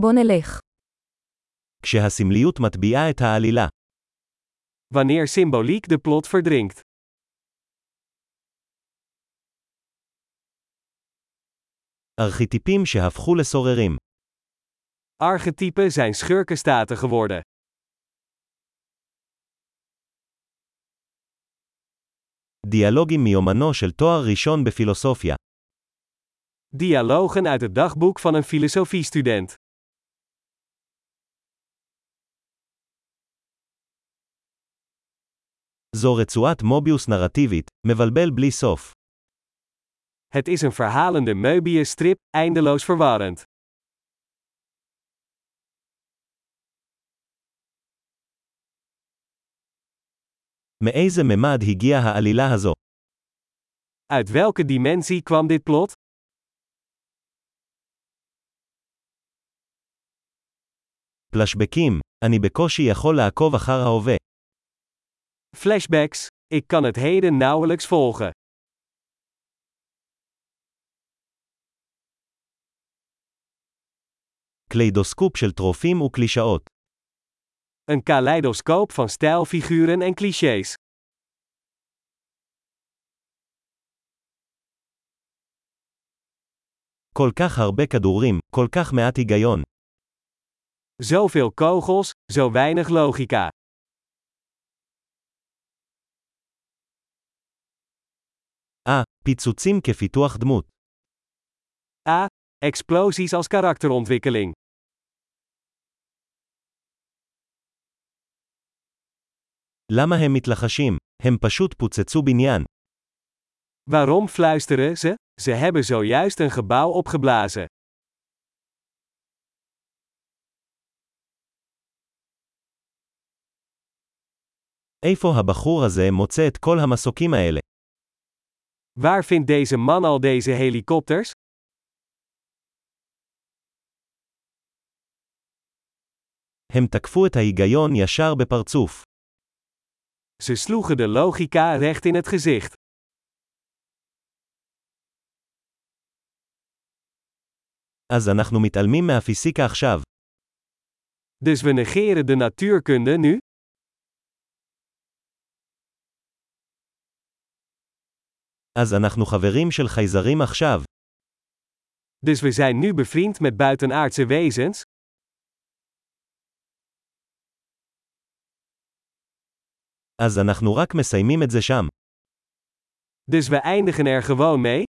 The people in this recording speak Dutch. בוא נלך. כשהסמליות מטביעה את העלילה. Wanneer symboliek de plot verdrinkt. ארכיטיפים שהפכו לסוררים. Archetypen zijn schurkenstaten geworden. דיאלוגים מיומנו של תואר ראשון בפילוסופיה. Dialogen uit het dagboek van een filosofiestudent. זו רצועת מוביוס נרטיבית, מבלבל בלי סוף. Het is een verhalende Möbius-strip, eindeloos verwarrend. מאיזה ממד הגיעה העלילה הזו? Uit welke dimensie kwam dit plot? פלשבקים, אני בקושי יכול לעקוב אחר ההווה. Flashbacks. Ik kan het heden nauwelijks volgen. קליידוסקופ של טרופים וקלישאות. Een kaleidoscoop van stijlfiguren en clichés. כל כך הרבה כדורים, כל כך מעט היגיון. Zoveel kogels, zo weinig logica. אה, פיצוצים כפיתוח דמות. A. Explosies als karakterontwikkeling. למה הם מתלחשים? הם פשוט פוצצו בניין. Waarom fluisteren ze? Ze hebben zojuist een gebouw opgeblazen. איפה הבחור הזה מוצא את כל המסוקים האלה? Waar vindt deze man al deze helikopters? הם תקפו את ההיגיון ישר בפרצוף. Ze sloegen de logica recht in het gezicht. אז אנחנו מתעלמים מהפיסיקה עכשיו. Dus we negeren de natuurkunde nu? אז אנחנו חברים של חייזרים עכשיו. Dus we zijn nu bevriend met buitenaardse wezens? אז אנחנו רק מסיימים את זה שם. Dus we eindigen er gewoon mee?